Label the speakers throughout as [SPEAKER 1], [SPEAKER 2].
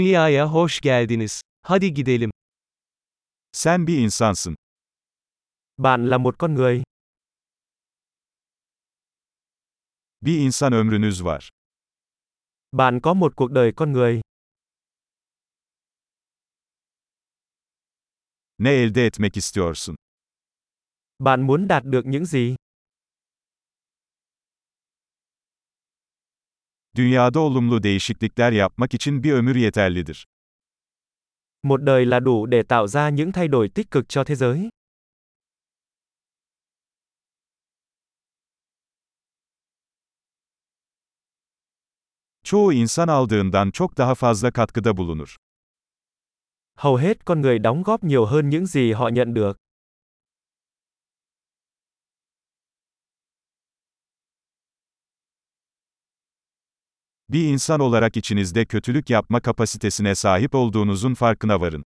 [SPEAKER 1] Dünyaya hoş geldiniz. Hadi gidelim.
[SPEAKER 2] Sen bir insansın.
[SPEAKER 1] Bạn là một con người.
[SPEAKER 2] Bir insan ömrünüz var.
[SPEAKER 1] Bạn có một cuộc đời con người.
[SPEAKER 2] Ne elde etmek istiyorsun?
[SPEAKER 1] Bạn muốn đạt được những gì?
[SPEAKER 2] Dünyada olumlu değişiklikler yapmak için bir ömür yeterlidir.
[SPEAKER 1] Một đời là đủ để tạo ra những thay đổi tích cực cho thế giới.
[SPEAKER 2] Çoğu insan aldığından çok daha fazla katkıda bulunur.
[SPEAKER 1] Hầu hết con người đóng góp nhiều hơn những gì họ nhận được.
[SPEAKER 2] Bir insan olarak içinizde kötülük yapma kapasitesine sahip olduğunuzun farkına varın.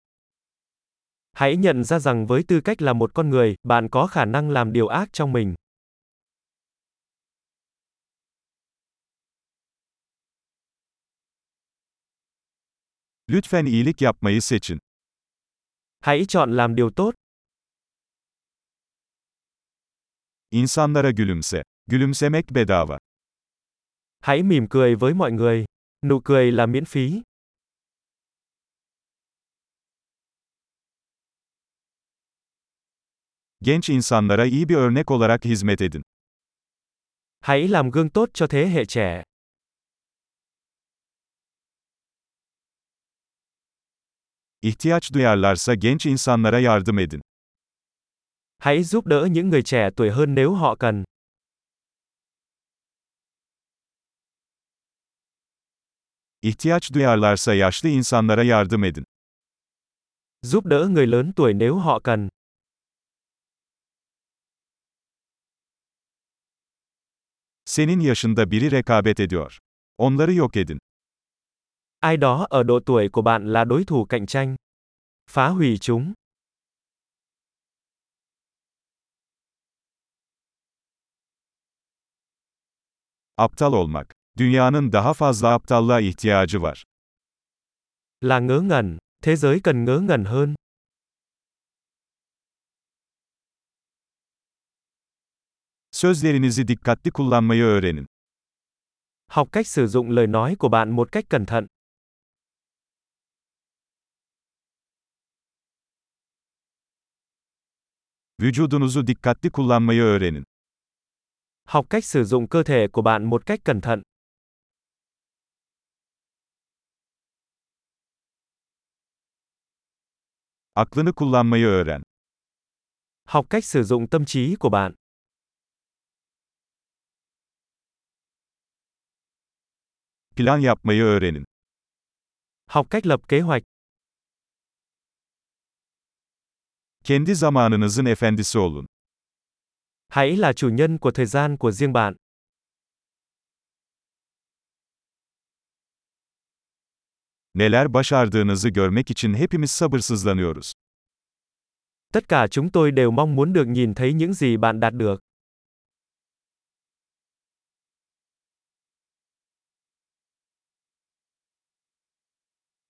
[SPEAKER 1] Hãy nhận ra rằng với tư cách là một con người, bạn có khả năng làm điều ác trong mình.
[SPEAKER 2] Lütfen iyilik yapmayı seçin.
[SPEAKER 1] Hãy chọn làm điều tốt,
[SPEAKER 2] İnsanlara gülümse. Gülümsemek bedava.
[SPEAKER 1] hãy mỉm cười với mọi người. Nụ cười là miễn phí.
[SPEAKER 2] Genç insanlara iyi bir örnek olarak hizmet edin.
[SPEAKER 1] Hãy làm gương tốt cho thế hệ trẻ.
[SPEAKER 2] İhtiyaç duyarlarsa genç insanlara yardım edin.
[SPEAKER 1] Hãy giúp đỡ những người trẻ tuổi hơn nếu họ cần.
[SPEAKER 2] İhtiyaç duyarlarsa yaşlı insanlara yardım edin.
[SPEAKER 1] Giúp đỡ người lớn tuổi nếu họ cần.
[SPEAKER 2] Senin yaşında biri rekabet ediyor. Onları yok edin.
[SPEAKER 1] Ai đó ở độ tuổi của bạn là đối thủ cạnh tranh. Phá hủy chúng.
[SPEAKER 2] Aptal olmak. Dünyanın daha fazla aptallığa ihtiyacı var.
[SPEAKER 1] Là ngớ ngẩn. Thế giới cần ngớ ngẩn hơn.
[SPEAKER 2] Sözlerinizi dikkatli kullanmayı öğrenin.
[SPEAKER 1] Học cách sử dụng lời nói của bạn một cách cẩn thận.
[SPEAKER 2] Vücudunuzu dikkatli kullanmayı öğrenin.
[SPEAKER 1] Học cách sử dụng cơ thể của bạn một cách cẩn thận.
[SPEAKER 2] Aklını kullanmayı öğren.
[SPEAKER 1] Học cách sử dụng tâm trí của bạn.
[SPEAKER 2] Plan yapmayı öğrenin.
[SPEAKER 1] Học cách lập kế hoạch.
[SPEAKER 2] Kendi zamanınızın efendisi olun.
[SPEAKER 1] Hãy là chủ nhân của thời gian của riêng bạn.
[SPEAKER 2] Neler başardığınızı görmek için hepimiz sabırsızlanıyoruz.
[SPEAKER 1] Tất cả chúng tôi đều mong muốn được nhìn thấy những gì bạn đạt được.